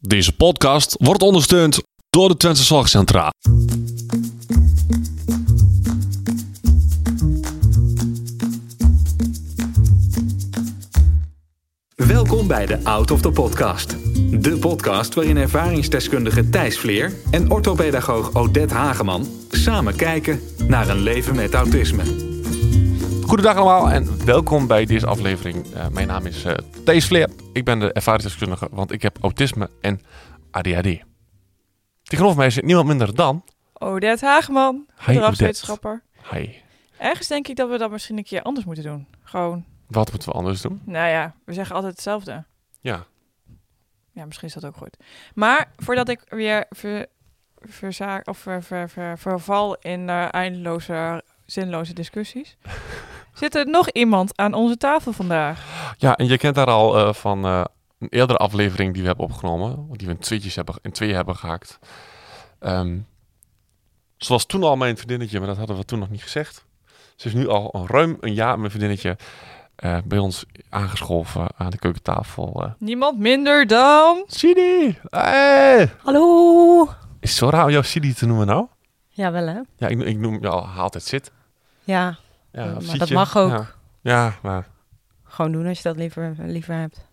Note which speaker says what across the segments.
Speaker 1: Deze podcast wordt ondersteund door de Twentse Zorgcentra.
Speaker 2: Welkom bij de Out of the Podcast. De podcast waarin ervaringsdeskundige Thijs Vleer en orthopedagoog Odette Hageman samen kijken naar een leven met autisme.
Speaker 1: Goedendag allemaal en welkom bij deze aflevering. Eh, mijn naam is eh Thees Vleer. Ik ben de ervaringsdeskundige, want ik heb autisme en ADHD. Tegenover mij zit niemand minder dan...
Speaker 3: Odette Hageman,
Speaker 1: Hi,
Speaker 3: gedragswetenschapper.
Speaker 1: Hi.
Speaker 3: Ergens denk ik dat we dat misschien een keer anders moeten doen. Gewoon,
Speaker 1: Wat moeten we anders doen?
Speaker 3: nou ja, we zeggen altijd hetzelfde.
Speaker 1: Ja.
Speaker 3: Ja, misschien is dat ook goed. Maar voordat ik weer ver, verzaak, of ver- ver- ver- verval in eh, eindeloze, zinloze discussies, zit er nog iemand aan onze tafel vandaag.
Speaker 1: Ja, en je kent haar al eh, van eh, een eerdere aflevering die we hebben opgenomen. Die we in, tweetjes hebben, in twee hebben gehaakt. Ehm ze was toen al mijn vriendinnetje, maar dat hadden we toen nog niet gezegd. Ze is nu al een ruim een jaar mijn vriendinnetje eh, bij ons aangeschoven aan de keukentafel. eh
Speaker 3: Niemand minder dan.
Speaker 1: Sidi! Hey!
Speaker 4: Hallo.
Speaker 1: Is het zo raar om jou Sidi te noemen nou?
Speaker 4: Ja, wel hè?
Speaker 1: Ja, ik, ik noem jou altijd Zit.
Speaker 4: Ja,
Speaker 1: Ja,
Speaker 4: maar
Speaker 1: of
Speaker 4: dat
Speaker 1: Sietje.
Speaker 4: mag ook.
Speaker 1: Ja, ja maar
Speaker 4: gewoon doen als je dat liever, liever hebt.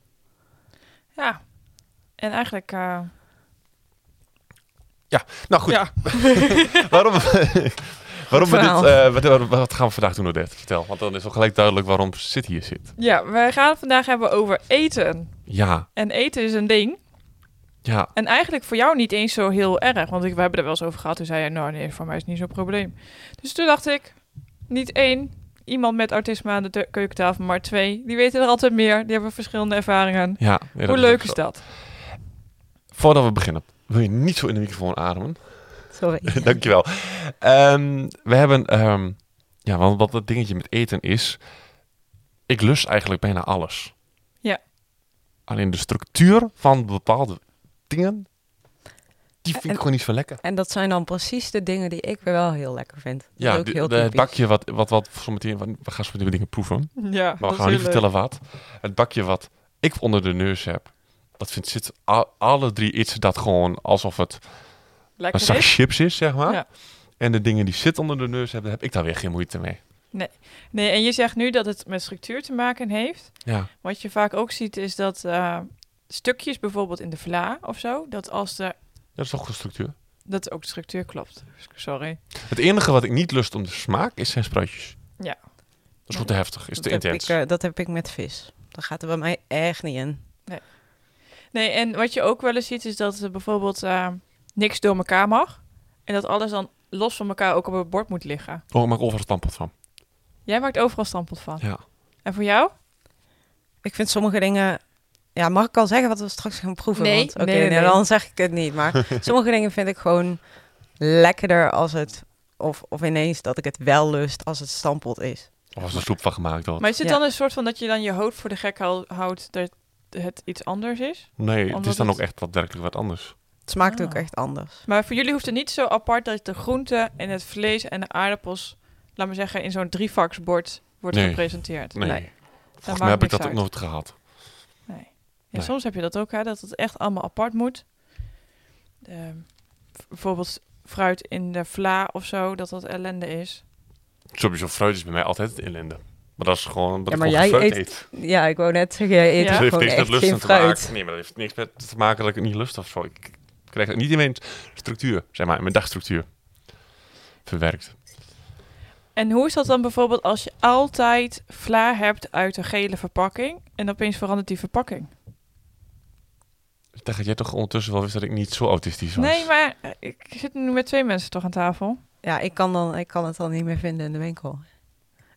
Speaker 3: Ja. En eigenlijk, eh,
Speaker 1: nou goed.
Speaker 3: ja,
Speaker 1: waarom waarom we dit,
Speaker 4: Verhaal.
Speaker 1: eh, wat, wat- wat gaan we vandaag doen, Odette? Vertel, want dan is wel gelijk duidelijk waarom Sid hier zit.
Speaker 3: ja, wij gaan het vandaag hebben over eten.
Speaker 1: Ja,
Speaker 3: En eten is een ding.
Speaker 1: ja,
Speaker 3: En eigenlijk voor jou niet eens zo heel erg. Want ik, we hebben er wel eens over gehad. Toen zei je, nou nee, voor mij is het niet zo'n probleem. Dus toen dacht ik, niet één, iemand met autisme aan de te- keukentafel, maar twee. Die weten er altijd meer. Die hebben verschillende ervaringen.
Speaker 1: ja. Ja, dat
Speaker 3: Hoe
Speaker 1: is ook
Speaker 3: leuk is
Speaker 1: zo.
Speaker 3: dat?
Speaker 1: Voordat we beginnen, wil je niet zo in de microfoon ademen?
Speaker 4: Sorry.
Speaker 1: Dankjewel. Ehm we hebben, ehm, ja, want wat dat dingetje met eten is, ik lust eigenlijk bijna alles.
Speaker 3: Ja.
Speaker 1: Alleen de structuur van bepaalde dingen, die vind ik
Speaker 4: En-
Speaker 1: gewoon niet zo lekker.
Speaker 4: En dat zijn dan precies de dingen die ik weer wel heel lekker vind. Dat is
Speaker 1: Ja,
Speaker 4: ook
Speaker 1: de-
Speaker 4: heel
Speaker 1: de- het
Speaker 4: typisch.
Speaker 1: bakje wat, wat, wat zo meteen, we gaan zo meteen dingen proeven.
Speaker 3: Ja, dat
Speaker 1: Maar we gaan
Speaker 3: is
Speaker 1: niet
Speaker 3: heel leuk.
Speaker 1: vertellen wat. Het bakje wat ik onder de neus heb, dat vindt zit a- alle drie eet ze dat gewoon alsof het een
Speaker 3: Lekker
Speaker 1: zak
Speaker 3: is.
Speaker 1: chips is, zeg maar.
Speaker 3: Ja.
Speaker 1: En de dingen die zit onder de neus hebben, heb ik daar weer geen moeite mee.
Speaker 3: Nee, en je zegt nu dat het met structuur te maken heeft.
Speaker 1: Ja,
Speaker 3: Wat je vaak ook ziet is dat eh, stukjes bijvoorbeeld in de vla of zo, dat als er,
Speaker 1: dat is toch een structuur.
Speaker 3: dat ook de structuur klopt. Sorry.
Speaker 1: Het enige wat ik niet lust om de smaak is zijn spruitjes.
Speaker 3: Ja.
Speaker 1: Dat is goed te heftig, is
Speaker 4: dat
Speaker 1: te
Speaker 4: heb, ik,
Speaker 1: intens.
Speaker 4: eh, dat heb ik met vis. Dat gaat er bij mij echt niet in.
Speaker 3: Nee, en wat je ook wel eens ziet is dat er bijvoorbeeld eh, niks door elkaar mag. En dat alles dan los van elkaar ook op het bord moet liggen.
Speaker 1: Oh, ik maak overal stampot van.
Speaker 3: Jij maakt overal standpunt van.
Speaker 1: Ja.
Speaker 3: En voor jou?
Speaker 4: Ik vind sommige dingen... Ja, mag ik al zeggen wat we straks gaan proeven?
Speaker 3: Nee.
Speaker 4: Want, oké,
Speaker 3: Nee, nee,
Speaker 4: nee,
Speaker 3: nee.
Speaker 4: dan zeg ik het niet. Maar sommige dingen vind ik gewoon lekkerder als het... Of, of ineens dat ik het wel lust als het stampot is.
Speaker 1: Of als er soep van gemaakt wordt.
Speaker 3: Maar is het
Speaker 4: Ja.
Speaker 3: dan een soort van dat je dan je hoofd voor de gek hou- houdt dat het iets anders is?
Speaker 1: Nee, het
Speaker 3: Omdat
Speaker 1: is dan
Speaker 3: het-
Speaker 1: ook echt wat werkelijk wat anders.
Speaker 4: Het smaakt
Speaker 3: Ah.
Speaker 4: ook echt anders.
Speaker 3: Maar voor jullie hoeft het niet zo apart dat de groente en het vlees en de aardappels, laat maar zeggen, in zo'n drievaksbord wordt
Speaker 1: Nee.
Speaker 3: gepresenteerd.
Speaker 1: Nee.
Speaker 4: Nee.
Speaker 1: Volgens
Speaker 3: maakt
Speaker 1: mij heb ik
Speaker 3: niks
Speaker 1: dat ook
Speaker 3: uit.
Speaker 1: nooit gehad.
Speaker 3: Nee. Ja,
Speaker 1: Nee.
Speaker 3: Soms heb je dat ook, hè, dat het echt allemaal apart moet. Ehm, v- bijvoorbeeld fruit in de vla of zo, dat dat ellende is.
Speaker 1: Sowieso fruit is bij mij altijd het ellende. Maar dat is gewoon dat
Speaker 4: Ja,
Speaker 1: ik gewoon
Speaker 4: maar
Speaker 1: geen
Speaker 4: jij
Speaker 1: fruit
Speaker 4: eet-
Speaker 1: eet.
Speaker 4: Ja, ik wou net zeggen, jij eet
Speaker 3: Ja.
Speaker 1: Dus
Speaker 3: Dus
Speaker 1: dat
Speaker 4: gewoon
Speaker 1: heeft niks met
Speaker 4: echt
Speaker 1: lust aan
Speaker 4: geen
Speaker 1: te
Speaker 4: fruit.
Speaker 1: maken. Nee, maar dat heeft niks met te maken dat ik het niet lust of zo. Ik krijg het niet in mijn structuur, zeg maar, in mijn dagstructuur verwerkt.
Speaker 3: En hoe is dat dan bijvoorbeeld als je altijd vla hebt uit een gele verpakking en opeens verandert die verpakking?
Speaker 1: Dan gaat jij toch ondertussen wel wist dat ik niet zo autistisch was.
Speaker 3: Nee, maar eh, ik zit nu met twee mensen toch aan tafel.
Speaker 4: Ja, ik kan, dan, ik kan het dan niet meer vinden in de winkel.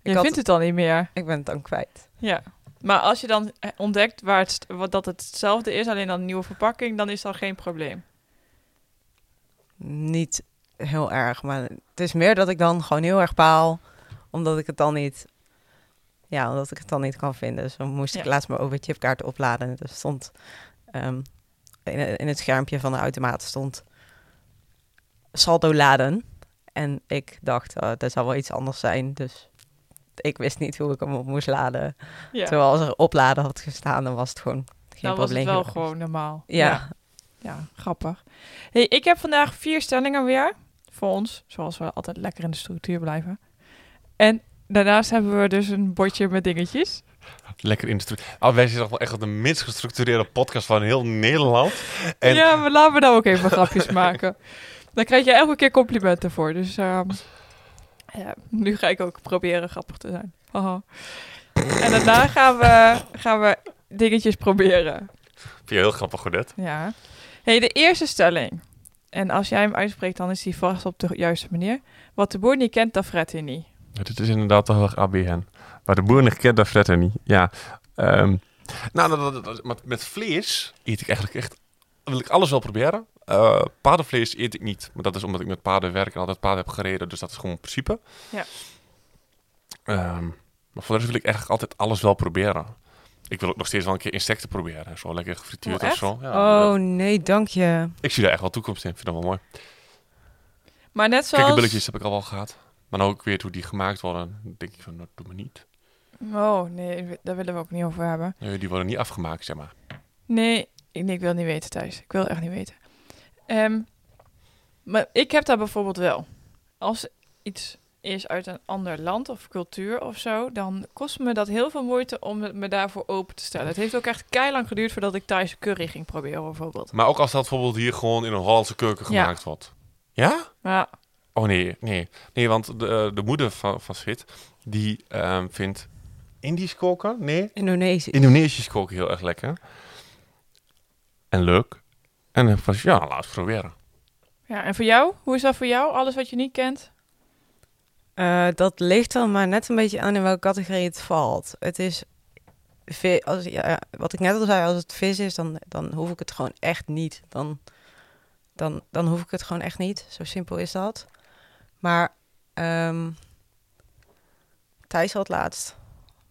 Speaker 3: Je
Speaker 4: had-
Speaker 3: vindt het dan niet meer.
Speaker 4: Ik ben het dan kwijt.
Speaker 3: Ja. Maar als je dan eh, ontdekt waar het, st- wat, dat het hetzelfde is, alleen dan een nieuwe verpakking, dan is dat geen probleem.
Speaker 4: Niet heel erg, maar het is meer dat ik dan gewoon heel erg paal. Omdat ik het dan niet... Ja, omdat ik het dan niet kan vinden. Dus dan moest ik
Speaker 3: Ja.
Speaker 4: laatst mijn overchipkaart opladen. En er stond... ehm, in, in het schermpje van de automaat stond... Saldo laden. En ik dacht, eh dat zal wel iets anders zijn. Dus ik wist niet hoe ik hem op moest laden.
Speaker 3: Ja.
Speaker 4: Terwijl als er opladen had gestaan, dan was het gewoon geen
Speaker 3: dan was
Speaker 4: probleem.
Speaker 3: het wel
Speaker 4: geweest.
Speaker 3: gewoon normaal.
Speaker 4: Ja.
Speaker 3: Ja, grappig. Hey, ik heb vandaag vier stellingen weer voor ons, zoals we altijd lekker in de structuur blijven. En daarnaast hebben we dus een bordje met dingetjes.
Speaker 1: Lekker in de structuur. Oh, wij zijn toch wel echt de minst gestructureerde podcast van heel Nederland. En
Speaker 3: Ja, maar laten we nou ook even grapjes maken. Dan krijg je elke keer complimenten voor. Dus ehm, ja, nu ga ik ook proberen grappig te zijn. Haha. En daarna gaan we, gaan we dingetjes proberen.
Speaker 1: vind je heel grappig, Godet.
Speaker 3: Ja. Hey, de eerste stelling. En als jij hem uitspreekt, dan is die vast op de juiste manier. Wat de boer niet kent, dat fret hij niet.
Speaker 1: Ja, dit is inderdaad toch heel erg ABN. Maar de boer kent dat verder niet. Ja. ehm, nou, dat, dat- dat- maar met vlees eet ik eigenlijk echt... Wil ik alles wel proberen. Eh, paardenvlees eet ik niet. Maar dat is omdat ik met paarden werk en altijd paarden heb gereden. Dus dat is gewoon een principe.
Speaker 3: Ja.
Speaker 1: Ehm, maar voor de rest wil ik eigenlijk altijd alles wel proberen. Ik wil ook nog steeds wel een keer insecten proberen. Zo lekker gefrituurd
Speaker 3: Oh,
Speaker 1: of
Speaker 3: echt?
Speaker 1: zo. Ja, dat-
Speaker 4: Oh nee, dank je.
Speaker 1: Ik zie daar echt wel toekomst in. Ik vind dat wel mooi.
Speaker 3: Maar net zoals...
Speaker 1: Kikkerbilletjes heb ik al wel gehad. Maar nou ook weer hoe die gemaakt worden. Dan denk ik van, dat doe me niet.
Speaker 3: Oh, nee, daar willen we ook niet over hebben.
Speaker 1: Nee, die worden niet afgemaakt, zeg maar.
Speaker 3: Nee, ik, nee, ik wil niet weten, Thijs. Ik wil echt niet weten. Ehm, maar ik heb dat bijvoorbeeld wel. Als iets is uit een ander land of cultuur of zo, dan kost me dat heel veel moeite om het- me daarvoor open te stellen. Het heeft ook echt keilang geduurd voordat ik Thaise curry ging proberen, bijvoorbeeld.
Speaker 1: Maar ook als dat bijvoorbeeld hier gewoon in een Hollandse keuken
Speaker 3: Ja.
Speaker 1: gemaakt wordt. Ja?
Speaker 3: Maar
Speaker 1: Oh nee, nee. Nee, want de, de moeder van, van Svit, die ehm, vindt Indisch koken, nee,
Speaker 4: Indonesisch.
Speaker 1: Indonesisch koken heel erg lekker. En leuk. En dan was ja, laat het proberen.
Speaker 3: Ja, en voor jou? Hoe is dat voor jou? Alles wat je niet kent?
Speaker 4: Eh, dat ligt dan maar net een beetje aan in welke categorie het valt. Het is, vi- als, ja, wat ik net al zei, als het vis is, dan, dan hoef ik het gewoon echt niet. Dan, dan, dan hoef ik het gewoon echt niet. Zo simpel is dat. Maar ehm Thijs had laatst.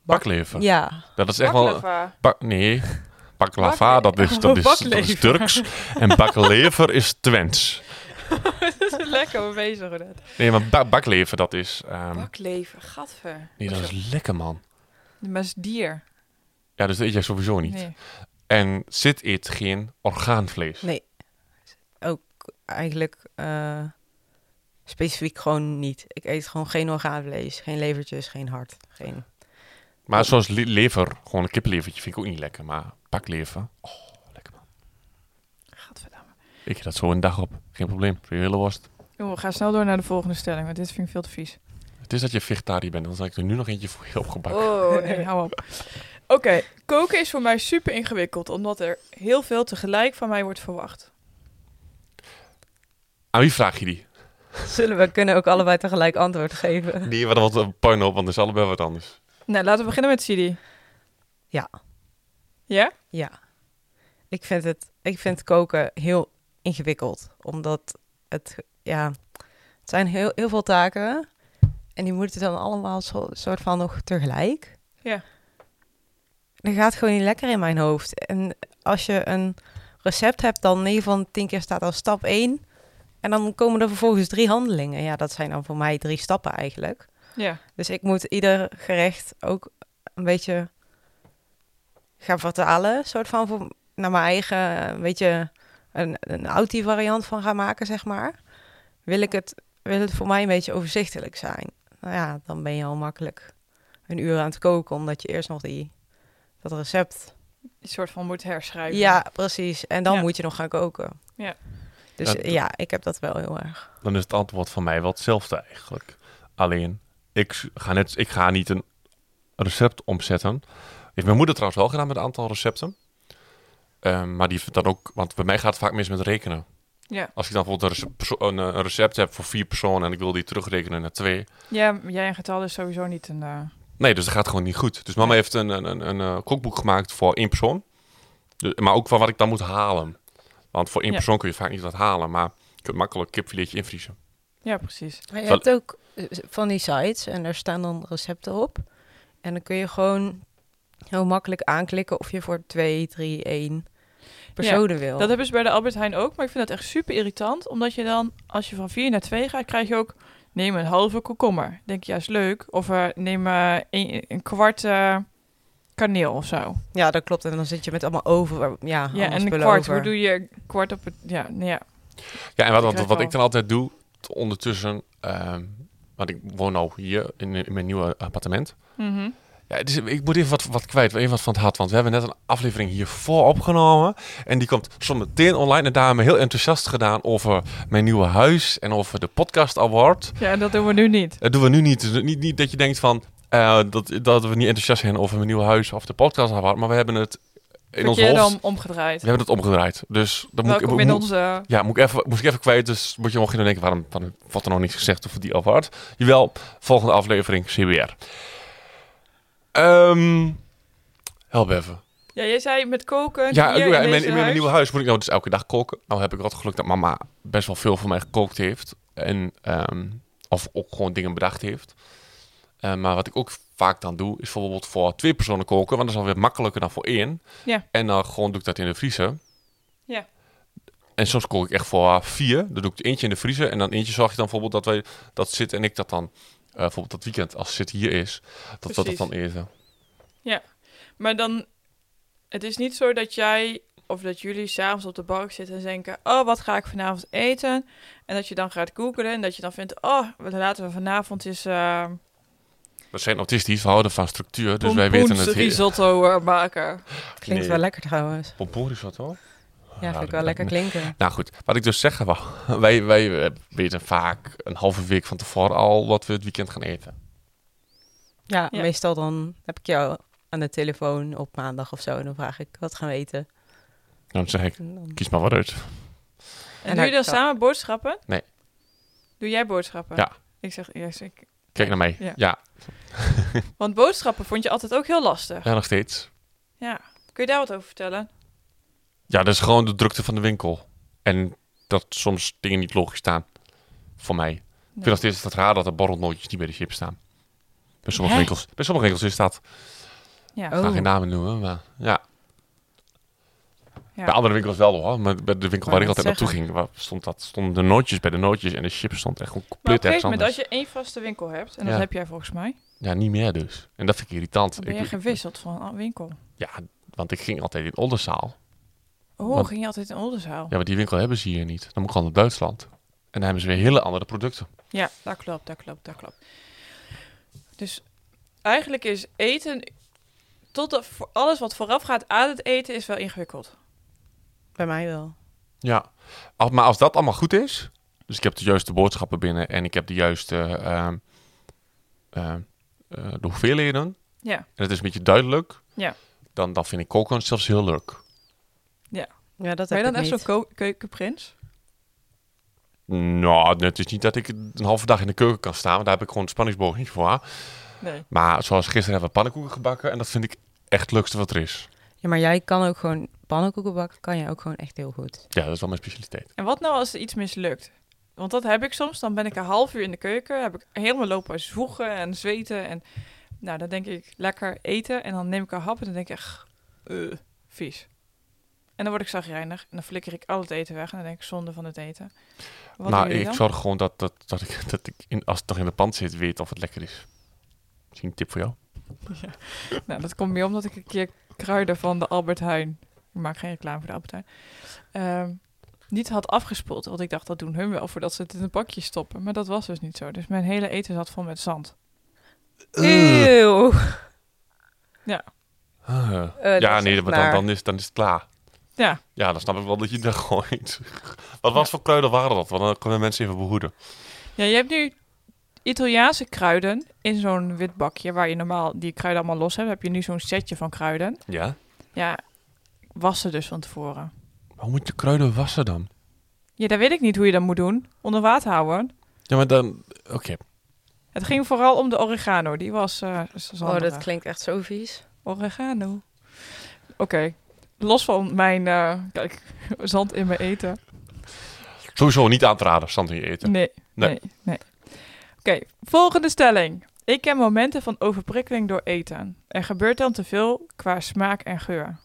Speaker 1: Bakleven.
Speaker 4: Ja,
Speaker 1: Dat is echt wel... Bak, nee, baklava, dat is, dat, is, dat is
Speaker 3: Baklever.
Speaker 1: Turks. En baklever is Twents.
Speaker 3: Dat is lekker mee bezig, Rodet.
Speaker 1: Nee, maar ba- baklever, dat is... ehm,
Speaker 3: Bakleven, gadver.
Speaker 1: nee, dat is lekker, man.
Speaker 3: Maar is dier.
Speaker 1: Ja, dus dat eet jij sowieso niet.
Speaker 3: Nee.
Speaker 1: En zit eet geen orgaanvlees.
Speaker 4: nee. Ook eigenlijk eh, specifiek gewoon niet. Ik eet gewoon geen orgaanvlees, geen levertjes, geen hart, geen...
Speaker 1: Maar zoals le- lever, gewoon een kippenlevertje, vind ik ook niet lekker. Maar baklever, oh, lekker man.
Speaker 3: Gadverdamme.
Speaker 1: Ik eet dat zo een dag op. Geen probleem, voor je hele worst.
Speaker 3: Joh, we gaan snel door naar de volgende stelling, want dit vind ik veel te vies.
Speaker 1: Het is dat je vegetariër bent, dan zal ik er nu nog eentje voor je opgebakken.
Speaker 3: Oh, nee, hou op. Oké, koken is voor mij super ingewikkeld, omdat er heel veel tegelijk van mij wordt verwacht.
Speaker 1: Aan wie vraag je die?
Speaker 4: Zullen we kunnen ook allebei tegelijk antwoord geven?
Speaker 1: Die wat wat een puinhoop, want het is allebei wat anders.
Speaker 3: Nou, laten we beginnen met Sidi.
Speaker 4: Ja.
Speaker 3: Ja?
Speaker 4: Ja. Ik vind het, ik vind koken heel ingewikkeld. Omdat het, ja, het zijn heel, heel veel taken. En die moeten dan allemaal zo, soort van nog tegelijk.
Speaker 3: Ja.
Speaker 4: Dat gaat gewoon niet lekker in mijn hoofd. En als je een recept hebt, dan 9 van 10 keer staat al stap 1. En dan komen er vervolgens drie handelingen. Ja, dat zijn dan voor mij drie stappen eigenlijk.
Speaker 3: Ja.
Speaker 4: Dus ik moet ieder gerecht ook een beetje gaan vertalen, soort van voor, naar mijn eigen, een beetje een, een outie variant van gaan maken, zeg maar. Wil, ik het, wil het voor mij een beetje overzichtelijk zijn? Nou ja, dan ben je al makkelijk een uur aan het koken, omdat je eerst nog die, dat recept.
Speaker 3: Een soort van moet herschrijven.
Speaker 4: Ja, precies. En dan
Speaker 3: Ja.
Speaker 4: moet je nog gaan koken.
Speaker 3: Ja.
Speaker 4: Dus
Speaker 1: Ja,
Speaker 4: eh, ja, ik heb dat wel heel erg.
Speaker 1: Dan is het antwoord van mij wel hetzelfde eigenlijk. Alleen, ik s- ga, net, ik ga niet een recept omzetten. Heeft mijn moeder trouwens wel gedaan met een aantal recepten. Ehm, maar die vindt dan ook, want bij mij gaat het vaak mis met rekenen.
Speaker 3: Ja.
Speaker 1: Als ik dan bijvoorbeeld een, rece- perso- een, eh, een recept heb voor vier personen en ik wil die terugrekenen naar twee.
Speaker 3: Ja, maar jij en getal is sowieso niet een... eh,
Speaker 1: Nee, dus dat gaat gewoon niet goed. Dus mama heeft een, een, een, een eh, kookboek gemaakt voor één persoon. Dus- maar ook van wat ik dan moet halen. Want voor één
Speaker 3: Ja.
Speaker 1: persoon kun je vaak niet wat halen. Maar je kunt makkelijk kipfiletje invriezen.
Speaker 3: Ja, precies.
Speaker 4: Maar je
Speaker 1: Zal-
Speaker 4: hebt ook eh, van die sites en daar staan dan recepten op. En dan kun je gewoon heel makkelijk aanklikken of je voor twee, drie, één personen wil.
Speaker 3: Dat hebben ze bij de Albert Heijn ook, maar ik vind dat echt super irritant. Omdat je dan, als je van 4 naar 2 gaat, krijg je ook... Neem een halve komkommer. Denk je, ja, is leuk. Of eh, neem eh, een, een kwart eh, kaneel of zo.
Speaker 4: Ja, dat klopt. En dan zit je met allemaal over. Ja,
Speaker 3: Ja, en
Speaker 4: en
Speaker 3: een kwart. Hoe doe je kwart op het... Ja, nee, ja.
Speaker 1: Ja, en wat,
Speaker 3: Ik
Speaker 1: wat,
Speaker 3: weet
Speaker 1: wat
Speaker 3: wel.
Speaker 1: ik dan altijd doe, t- ondertussen, ehm, want ik woon nou hier in, in mijn nieuwe appartement.
Speaker 3: Mhm.
Speaker 1: Ja, het is- ik moet even wat, wat kwijt, even wat van het hart, want we hebben net een aflevering hiervoor opgenomen. En die komt zometeen online en daar hebben we heel enthousiast gedaan over mijn nieuwe huis en over de podcast award.
Speaker 3: ja, dat doen we nu niet.
Speaker 1: Dat doen we nu niet. Dus niet, niet dat je denkt van, eh, dat, dat we niet enthousiast zijn over mijn nieuwe huis of de podcast award, maar we hebben het in ons
Speaker 3: Verkeerd
Speaker 1: hoofd,
Speaker 3: om, omgedraaid.
Speaker 1: we hebben het omgedraaid. Dus dat moet,
Speaker 3: Welkom
Speaker 1: ik
Speaker 3: in
Speaker 1: moet-
Speaker 3: onze...
Speaker 1: ja, moet ik even, moest ik even kwijt, dus moet je nog in denken, waarom, waarom wordt er nog niets gezegd over die award? Jawel, volgende aflevering, CBR. Ehm help even.
Speaker 3: Ja, jij zei met koken
Speaker 1: Ja,
Speaker 3: hier
Speaker 1: ja, in,
Speaker 3: in,
Speaker 1: mijn,
Speaker 3: deze
Speaker 1: in mijn
Speaker 3: huis.
Speaker 1: nieuwe huis moet ik nou dus elke dag koken. Nou heb ik wat geluk dat mama best wel veel voor mij gekookt heeft. En, ehm, of ook gewoon dingen bedacht heeft. Eh, maar wat ik ook vaak dan doe, is bijvoorbeeld voor twee personen koken. Want dat is alweer makkelijker dan voor één.
Speaker 3: Ja.
Speaker 1: En dan gewoon doe ik dat in de vriezer.
Speaker 3: Ja.
Speaker 1: En soms kook ik echt voor vier. Dan doe ik er eentje in de vriezer. En dan eentje zorg je dan bijvoorbeeld dat wij dat zit en ik dat dan... eh, bijvoorbeeld dat weekend, als zit hier is, dat we dat
Speaker 3: Precies.
Speaker 1: dan eten.
Speaker 3: Maar dan... Het is niet zo dat jij... Of dat jullie s'avonds op de bank zitten en denken... Oh, wat ga ik vanavond eten? En dat je dan gaat googlen en dat je dan vindt... Oh, wat laten we vanavond eens... eh
Speaker 1: We zijn autistisch, we houden van structuur. Dus wij weten het
Speaker 3: pompoens
Speaker 1: heel...
Speaker 3: risotto eh, maken.
Speaker 4: Klinkt
Speaker 1: Nee.
Speaker 4: wel lekker trouwens.
Speaker 1: Pompoen risotto?
Speaker 4: Ja, vind
Speaker 1: dat-
Speaker 4: ik wel lekker klinken.
Speaker 1: Nou goed, wat ik dus zeg, wou, wij, wij eh, weten vaak een halve week van tevoren al wat we het weekend gaan eten.
Speaker 4: Ja,
Speaker 3: Ja.
Speaker 4: meestal dan heb ik jou aan de telefoon op maandag of zo. En dan vraag ik, wat gaan we eten?
Speaker 1: En dan zeg ik,
Speaker 4: En dan-
Speaker 1: kies maar wat uit.
Speaker 3: En,
Speaker 4: En
Speaker 3: doe je dan
Speaker 4: hartstocht.
Speaker 3: samen boodschappen?
Speaker 1: Nee.
Speaker 3: Doe jij boodschappen?
Speaker 1: Ja.
Speaker 3: Ik zeg eerst, ik...
Speaker 1: Kijk naar mij.
Speaker 3: Ja.
Speaker 1: Ja,
Speaker 3: Want boodschappen vond je altijd ook heel lastig.
Speaker 1: Ja, nog steeds.
Speaker 3: Ja. Kun je daar wat over vertellen?
Speaker 1: Ja, dat is gewoon de drukte van de winkel. En dat soms dingen niet logisch staan. Voor mij. Ik vind nog steeds het raar dat er borrelnootjes niet bij de chips staan. Bij sommige,
Speaker 3: Hè?
Speaker 1: winkels, bij sommige winkels is dat.
Speaker 3: Ja.
Speaker 1: Ik ga
Speaker 4: Oh.
Speaker 1: geen namen noemen, maar ja.
Speaker 3: Ja.
Speaker 1: Bij andere winkels wel hoor. Maar bij de winkel
Speaker 4: Wou
Speaker 1: waar ik
Speaker 4: net
Speaker 1: altijd naartoe ging, waar stond dat, stonden de nootjes bij de nootjes. En de chips stond echt gewoon
Speaker 3: Maar op
Speaker 1: compleet
Speaker 3: een
Speaker 1: ergens
Speaker 3: gegeven moment,
Speaker 1: anders.
Speaker 3: als je één vaste winkel hebt... En dat
Speaker 1: Ja.
Speaker 3: heb jij volgens mij...
Speaker 1: Ja, niet meer dus. En dat vind ik irritant.
Speaker 3: Dan ben
Speaker 1: Ik-
Speaker 3: je
Speaker 1: ik-
Speaker 3: gewisseld van een winkel.
Speaker 1: ja, want ik ging altijd in Oldenzaal.
Speaker 3: Oh,
Speaker 1: Want-
Speaker 3: ging je altijd in Oldenzaal?
Speaker 1: Ja, maar die winkel hebben ze hier niet. Dan moet ik gewoon naar Duitsland. En dan hebben ze weer hele andere producten.
Speaker 3: Ja, dat klopt, dat klopt, dat klopt. Dus eigenlijk is eten... Tot de- voor alles wat vooraf gaat aan het eten is wel ingewikkeld.
Speaker 4: Bij mij wel.
Speaker 1: Ja. Al- maar als dat allemaal goed is... Dus ik heb de juiste boodschappen binnen en ik heb de juiste... ehm, ehm, eh, de hoeveelheden.
Speaker 3: Ja.
Speaker 1: En het is een beetje duidelijk.
Speaker 3: Ja.
Speaker 1: Dan, dan vind ik koken zelfs heel leuk.
Speaker 4: Ja, dat
Speaker 3: ben
Speaker 4: heb
Speaker 3: je dan
Speaker 4: ik
Speaker 3: echt zo'n
Speaker 4: niet.
Speaker 3: ko- keukenprins?
Speaker 1: Nou, het is niet dat ik een halve dag in de keuken kan staan. want Daar heb ik gewoon een spanningsboog niet voor.
Speaker 3: Nee.
Speaker 1: Maar zoals gisteren hebben we pannenkoeken gebakken. En dat vind ik echt het leukste wat er is.
Speaker 4: Ja, maar jij kan ook gewoon pannenkoeken bakken, kan jij ook gewoon echt heel goed.
Speaker 1: Ja, dat is wel mijn specialiteit.
Speaker 3: En wat nou als er iets mislukt? Want dat heb ik soms. Dan ben ik een half uur in de keuken. Heb ik helemaal lopen zwoegen en zweten. En nou, dan denk ik lekker eten. En dan neem ik een hap en dan denk ik echt, eh, vies. En dan word ik zagrijnig. En dan flikker ik al het eten weg. En dan denk ik, zonde van het eten. Wat
Speaker 1: maar
Speaker 3: doen jullie
Speaker 1: Nou, ik
Speaker 3: dan?
Speaker 1: zorg gewoon dat, dat, dat ik, dat ik in, als het toch in de pand zit, weet of het lekker is. Misschien een tip voor jou.
Speaker 3: Nou, dat komt meer omdat ik een keer kruiden van de Albert Heijn... Ik maak geen reclame voor de Albert Heijn. ehm, niet had afgespoeld. Want ik dacht, dat doen hun wel voordat ze het in een bakje stoppen. Maar dat was dus niet zo. Dus mijn hele eten zat vol met zand.
Speaker 4: Eeuw.
Speaker 1: Ah.
Speaker 3: Eh,
Speaker 4: dat
Speaker 1: ja,
Speaker 4: is
Speaker 1: nee,
Speaker 4: echt
Speaker 1: maar dan,
Speaker 4: naar.
Speaker 1: dan, is, dan is het klaar.
Speaker 3: Ja.
Speaker 1: Ja, dan snap ik wel dat je daar gooit. Wat was voor kruiden waren dat? Want dan kunnen mensen even behoeden.
Speaker 3: Ja, je hebt nu Italiaanse kruiden in zo'n wit bakje waar je normaal die kruiden allemaal los hebt. Heb je nu zo'n setje van kruiden.
Speaker 1: Ja?
Speaker 3: Ja, wassen dus van tevoren.
Speaker 1: Hoe moet je kruiden wassen dan?
Speaker 3: Ja, dat weet ik niet hoe je dat moet doen. Onder water houden.
Speaker 1: Ja, maar dan... Oké.
Speaker 3: Het ging vooral om de oregano. Die was eh
Speaker 4: Oh, dat
Speaker 3: zanderig.
Speaker 4: klinkt echt zo vies.
Speaker 3: Oregano. Oké. Los van mijn, eh, kijk, zand in mijn eten.
Speaker 1: Sowieso niet aan te raden, stand in je eten.
Speaker 3: Nee, nee,
Speaker 1: Nee.
Speaker 3: nee. Oké, volgende stelling. Ik ken momenten van overprikkeling door eten. Er gebeurt dan te veel qua smaak en geur.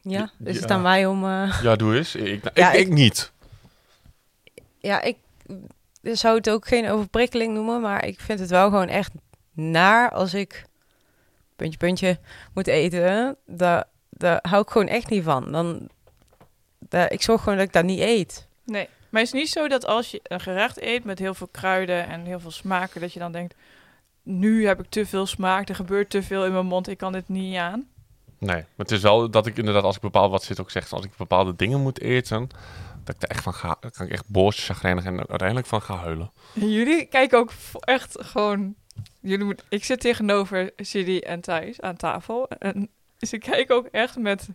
Speaker 4: Ja, dus
Speaker 1: Ja.
Speaker 4: is het aan mij om... eh,
Speaker 1: Ja, doe eens. Ik, ik,
Speaker 4: Ja,
Speaker 1: ik,
Speaker 4: ik-
Speaker 1: niet.
Speaker 4: Ja, ik zou het ook geen overprikkeling noemen, maar ik vind het wel gewoon echt naar als ik puntje, puntje moet eten, daar, daar hou ik gewoon echt niet van. Dan, daar, ik zorg gewoon dat ik dat niet eet.
Speaker 3: Nee, maar het is niet zo dat als je een gerecht eet met heel veel kruiden en heel veel smaken, dat je dan denkt, nu heb ik te veel smaak, er gebeurt te veel in mijn mond, ik kan dit niet aan.
Speaker 1: Nee, maar het is wel dat ik inderdaad, als ik bepaal wat zit ook zegt, als ik bepaalde dingen moet eten, dat ik er echt van ga, dan kan ik echt boos, chagrijnig en uiteindelijk van ga huilen.
Speaker 3: En jullie kijken ook vo- echt gewoon, jullie moet, ik zit tegenover Siri en Thijs aan tafel en ze kijken ook echt met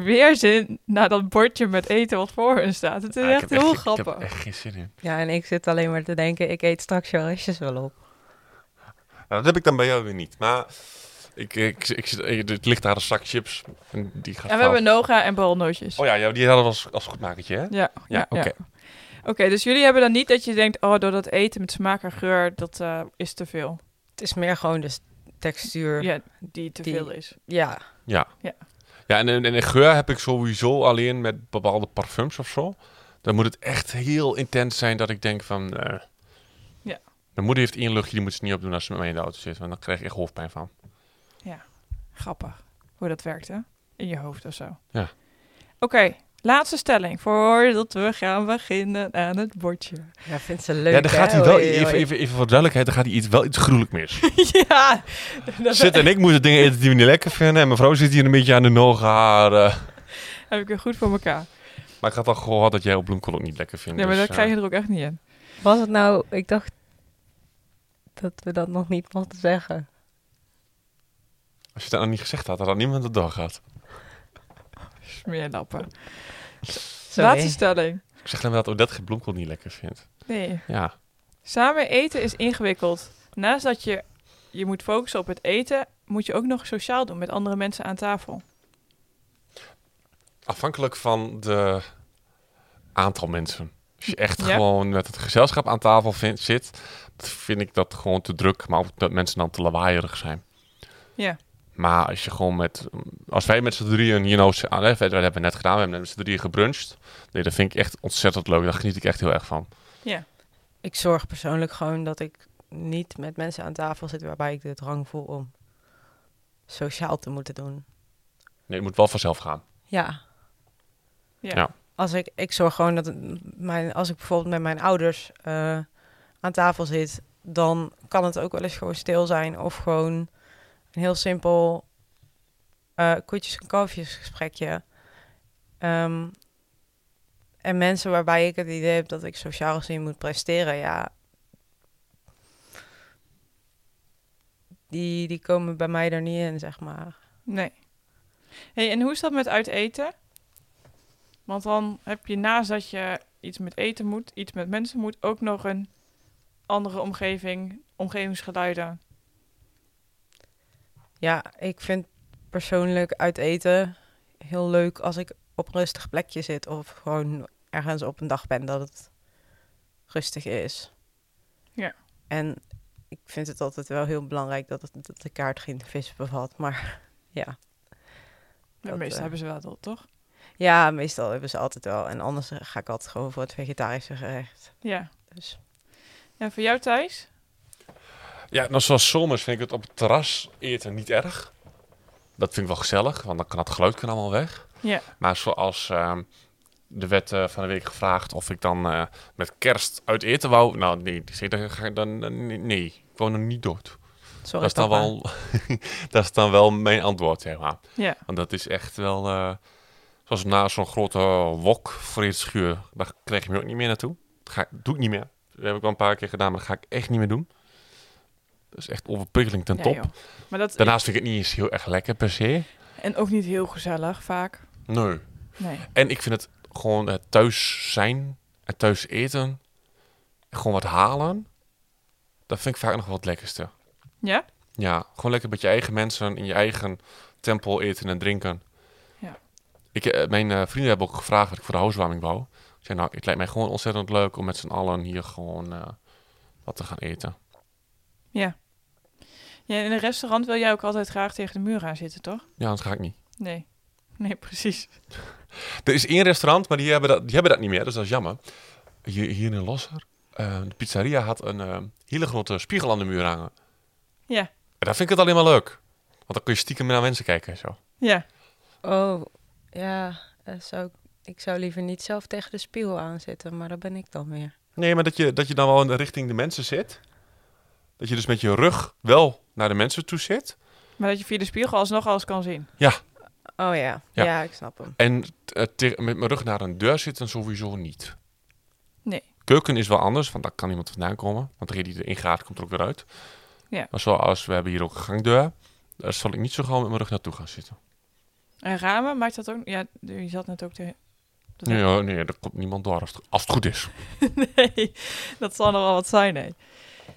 Speaker 3: weerzin naar dat bordje met eten wat voor hen staat. Het is
Speaker 1: Ja, Ah, ik
Speaker 3: echt
Speaker 1: heb
Speaker 3: heel
Speaker 1: geen-
Speaker 3: grappig.
Speaker 1: Ik heb er echt geen zin in.
Speaker 4: Ja, en ik zit alleen maar te denken, ik eet straks je restjes wel op.
Speaker 1: Nou, dat heb ik dan bij jou weer niet. Maar ik, ik, ik, zit- ik- het ligt daar een zak chips en die gaat
Speaker 3: En we
Speaker 1: fout.
Speaker 3: hebben noga en borrelnootjes.
Speaker 1: Oh ja, ja, die hadden we als, als goedmakertje, hè?
Speaker 3: Ja, ja, ja.
Speaker 1: oké.
Speaker 3: Oké, dus jullie hebben dan niet dat je denkt, oh, door dat eten met smaak en geur, dat eh, is te veel.
Speaker 4: Het is meer gewoon de s- textuur.
Speaker 3: Ja, die te
Speaker 4: Die-
Speaker 3: veel is.
Speaker 4: Ja.
Speaker 1: Ja, en, en, en de geur heb ik sowieso alleen met bepaalde parfums of zo. Dan moet het echt heel intens zijn dat ik denk van... eh.
Speaker 3: Ja.
Speaker 1: Mijn moeder heeft één luchtje, die moet ze niet opdoen als ze met mij in de auto zit. Want dan krijg ik echt hoofdpijn van.
Speaker 3: Grappig hoe dat werkt, hè? In je hoofd of zo.
Speaker 1: Ja.
Speaker 3: Oké, laatste stelling voordat we gaan beginnen aan het bordje.
Speaker 4: Ja, vindt ze leuk,
Speaker 1: ja, dan gaat
Speaker 4: hè? Oh,
Speaker 1: hij wel,
Speaker 4: Oei, oei,
Speaker 1: even,
Speaker 4: oei.
Speaker 1: even, even voor duidelijkheid, dan gaat hij iets, wel iets gruwelijk mis.
Speaker 4: ja. dat-
Speaker 1: Zit en ik moeten dingen eten die we niet lekker vinden. En mijn vrouw zit hier een beetje aan de nogen. Haar, eh.
Speaker 3: Heb ik er goed voor elkaar.
Speaker 1: Maar ik had al gehoord dat jij op bloemkool ook niet lekker vindt.
Speaker 3: Nee, maar
Speaker 1: dus,
Speaker 3: dat krijg
Speaker 1: eh,
Speaker 3: je er ook echt niet in.
Speaker 4: Was het nou, ik dacht dat we dat nog niet mochten zeggen.
Speaker 1: Als je dat nou niet gezegd had, dan had niemand het doorgaat.
Speaker 3: Smeerlappen.
Speaker 4: Sorry.
Speaker 3: Laatste stelling.
Speaker 1: Ik zeg dan wel dat Odette geen bloemkool niet lekker vindt.
Speaker 3: Nee.
Speaker 1: Ja.
Speaker 3: Samen eten is ingewikkeld. Naast dat je je moet focussen op het eten, moet je ook nog sociaal doen met andere mensen aan tafel.
Speaker 1: Afhankelijk van de aantal mensen. Als je echt
Speaker 3: Ja.
Speaker 1: gewoon met het gezelschap aan tafel vindt, zit, vind ik dat gewoon te druk. Maar ook dat mensen dan te lawaaierig zijn.
Speaker 3: Ja.
Speaker 1: Maar als je gewoon met... Als wij met z'n drieën hier nou... z'n- ah, hè, Dat hebben we net gedaan. We hebben met z'n drieën gebruncht. Nee, dat vind ik echt ontzettend leuk. Daar geniet ik echt heel erg van.
Speaker 4: Ik zorg persoonlijk gewoon dat ik niet met mensen aan tafel zit waarbij ik de drang voel om sociaal te moeten doen.
Speaker 1: Nee, het moet wel vanzelf gaan.
Speaker 4: Ja.
Speaker 3: Ja.
Speaker 1: Ja.
Speaker 4: Als ik, ik zorg gewoon dat het mijn, als ik bijvoorbeeld met mijn ouders eh, aan tafel zit, dan kan het ook wel eens gewoon stil zijn of gewoon een heel simpel eh koetjes en kalfjes gesprekje. Ehm, en mensen waarbij ik het idee heb dat ik sociaal gezien moet presteren, ja. Die, die komen bij mij er niet in, zeg maar.
Speaker 3: Nee. Hey, en hoe is dat met uit eten? Want dan heb je naast dat je iets met eten moet, iets met mensen moet, ook nog een andere omgeving, omgevingsgeluiden.
Speaker 4: Ja, ik vind persoonlijk uit eten heel leuk als ik op een rustig plekje zit of gewoon ergens op een dag ben dat het rustig is.
Speaker 3: Ja.
Speaker 4: En ik vind het altijd wel heel belangrijk dat, het, dat de kaart geen vis bevat. Maar ja.
Speaker 3: De
Speaker 4: Dat,
Speaker 3: meeste
Speaker 4: eh,
Speaker 3: hebben ze wel, dat, toch?
Speaker 4: ja, meestal hebben ze altijd wel. En anders ga ik altijd gewoon voor het vegetarische gerecht.
Speaker 3: Ja.
Speaker 4: Dus
Speaker 3: En voor jou Thijs?
Speaker 1: Ja, nou zoals zomers vind ik het op het terras eten niet erg. Dat vind ik wel gezellig, want dan kan het geluid kan allemaal weg.
Speaker 3: Ja.
Speaker 1: Maar zoals ehm, de wet eh, van de week gevraagd of ik dan eh, met kerst uit eten wou. Nou nee, die zei, dan, ga ik dan, dan- nee, ik woon er niet dood.
Speaker 4: sorry
Speaker 1: Dat Oh, is, dan
Speaker 4: papa.
Speaker 1: wel, dat is dan wel mijn antwoord, zeg maar.
Speaker 3: Ja.
Speaker 1: Want dat is echt wel, eh, zoals na zo'n grote wok voor in de schuur, daar krijg je me ook niet meer naartoe. Dat ga, ik- doe ik niet meer. Dat heb ik wel een paar keer gedaan, maar dat ga ik echt niet meer doen. Dat is echt overprikkeling ten
Speaker 3: Ja,
Speaker 1: top.
Speaker 3: joh. Maar dat
Speaker 1: Daarnaast vind ik het niet eens heel erg lekker per se.
Speaker 3: en ook niet heel gezellig vaak.
Speaker 1: Nee.
Speaker 3: Nee.
Speaker 1: En ik vind het gewoon het thuis zijn, het thuis eten, gewoon wat halen. Dat vind ik vaak nog wel het lekkerste.
Speaker 3: Ja?
Speaker 1: Ja, gewoon lekker met je eigen mensen in je eigen tempel eten en drinken.
Speaker 3: Ja.
Speaker 1: Ik, eh, mijn eh, vrienden hebben ook gevraagd wat ik voor de housewarming wou. Ik zei, nou, het lijkt mij gewoon ontzettend leuk om met z'n allen hier gewoon eh, wat te gaan eten.
Speaker 3: ja. In een restaurant wil jij ook altijd graag tegen de muur gaan zitten, toch?
Speaker 1: Ja, dat ga ik niet.
Speaker 3: Nee. Nee, precies.
Speaker 1: Er is één restaurant, maar die hebben dat, die hebben dat niet meer, dus dat is jammer. Hier, hier in Losser, eh, de pizzeria had een eh, hele grote spiegel aan de muur hangen.
Speaker 3: Ja.
Speaker 1: En dat vind ik het alleen maar leuk. Want dan kun je stiekem naar mensen kijken en zo.
Speaker 3: Ja.
Speaker 5: Oh, ja. eh, zou, ik- ik zou liever niet zelf tegen de spiegel aanzitten, maar dat ben ik dan weer.
Speaker 1: Nee, maar dat je, dat je dan wel in de richting de mensen zit. Dat je dus met je rug wel naar de mensen toe zit.
Speaker 3: Maar dat je via de spiegel alsnog alles kan zien.
Speaker 4: Oh ja.
Speaker 1: Ja.
Speaker 4: ja, ik snap hem.
Speaker 1: En eh, te- met mijn rug naar een deur zitten sowieso niet.
Speaker 3: Nee.
Speaker 1: Keuken is wel anders, want daar kan iemand vandaan komen. Want degene die erin gaat, komt er ook weer uit.
Speaker 3: Ja.
Speaker 1: Maar zoals, we hebben hier ook een gangdeur. Daar zal ik niet zo gauw met mijn rug naartoe gaan zitten.
Speaker 3: En ramen maakt dat ook... Ja, je zat net ook te... dat-
Speaker 1: Nee, hoor, nee, er komt niemand door als het, als het goed is.
Speaker 3: nee, dat zal nog wel wat zijn, nee.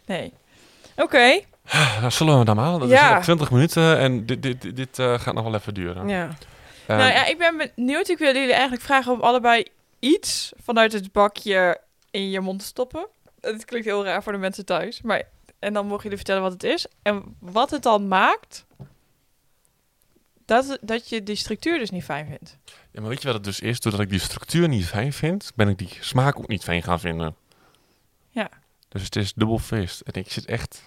Speaker 3: Nee. Oké.
Speaker 1: Eh, Zullen we dan maar? Dat
Speaker 3: Ja.
Speaker 1: is al 20 minuten en dit, dit, dit, dit, eh, gaat nog wel even duren.
Speaker 4: Ja.
Speaker 1: Eh,
Speaker 3: nou ja, ik ben benieuwd. Ik wil jullie eigenlijk vragen om allebei iets vanuit het bakje in je mond te stoppen. Het klinkt heel raar voor de mensen thuis. Maar, en dan mogen jullie vertellen wat het is. En wat het dan maakt dat, dat je die structuur dus niet fijn vindt.
Speaker 1: Ja, maar weet je wat het dus is? Doordat ik die structuur niet fijn vind, ben ik die smaak ook niet fijn gaan vinden.
Speaker 3: Ja.
Speaker 1: Dus het is dubbel feest. En ik zit echt...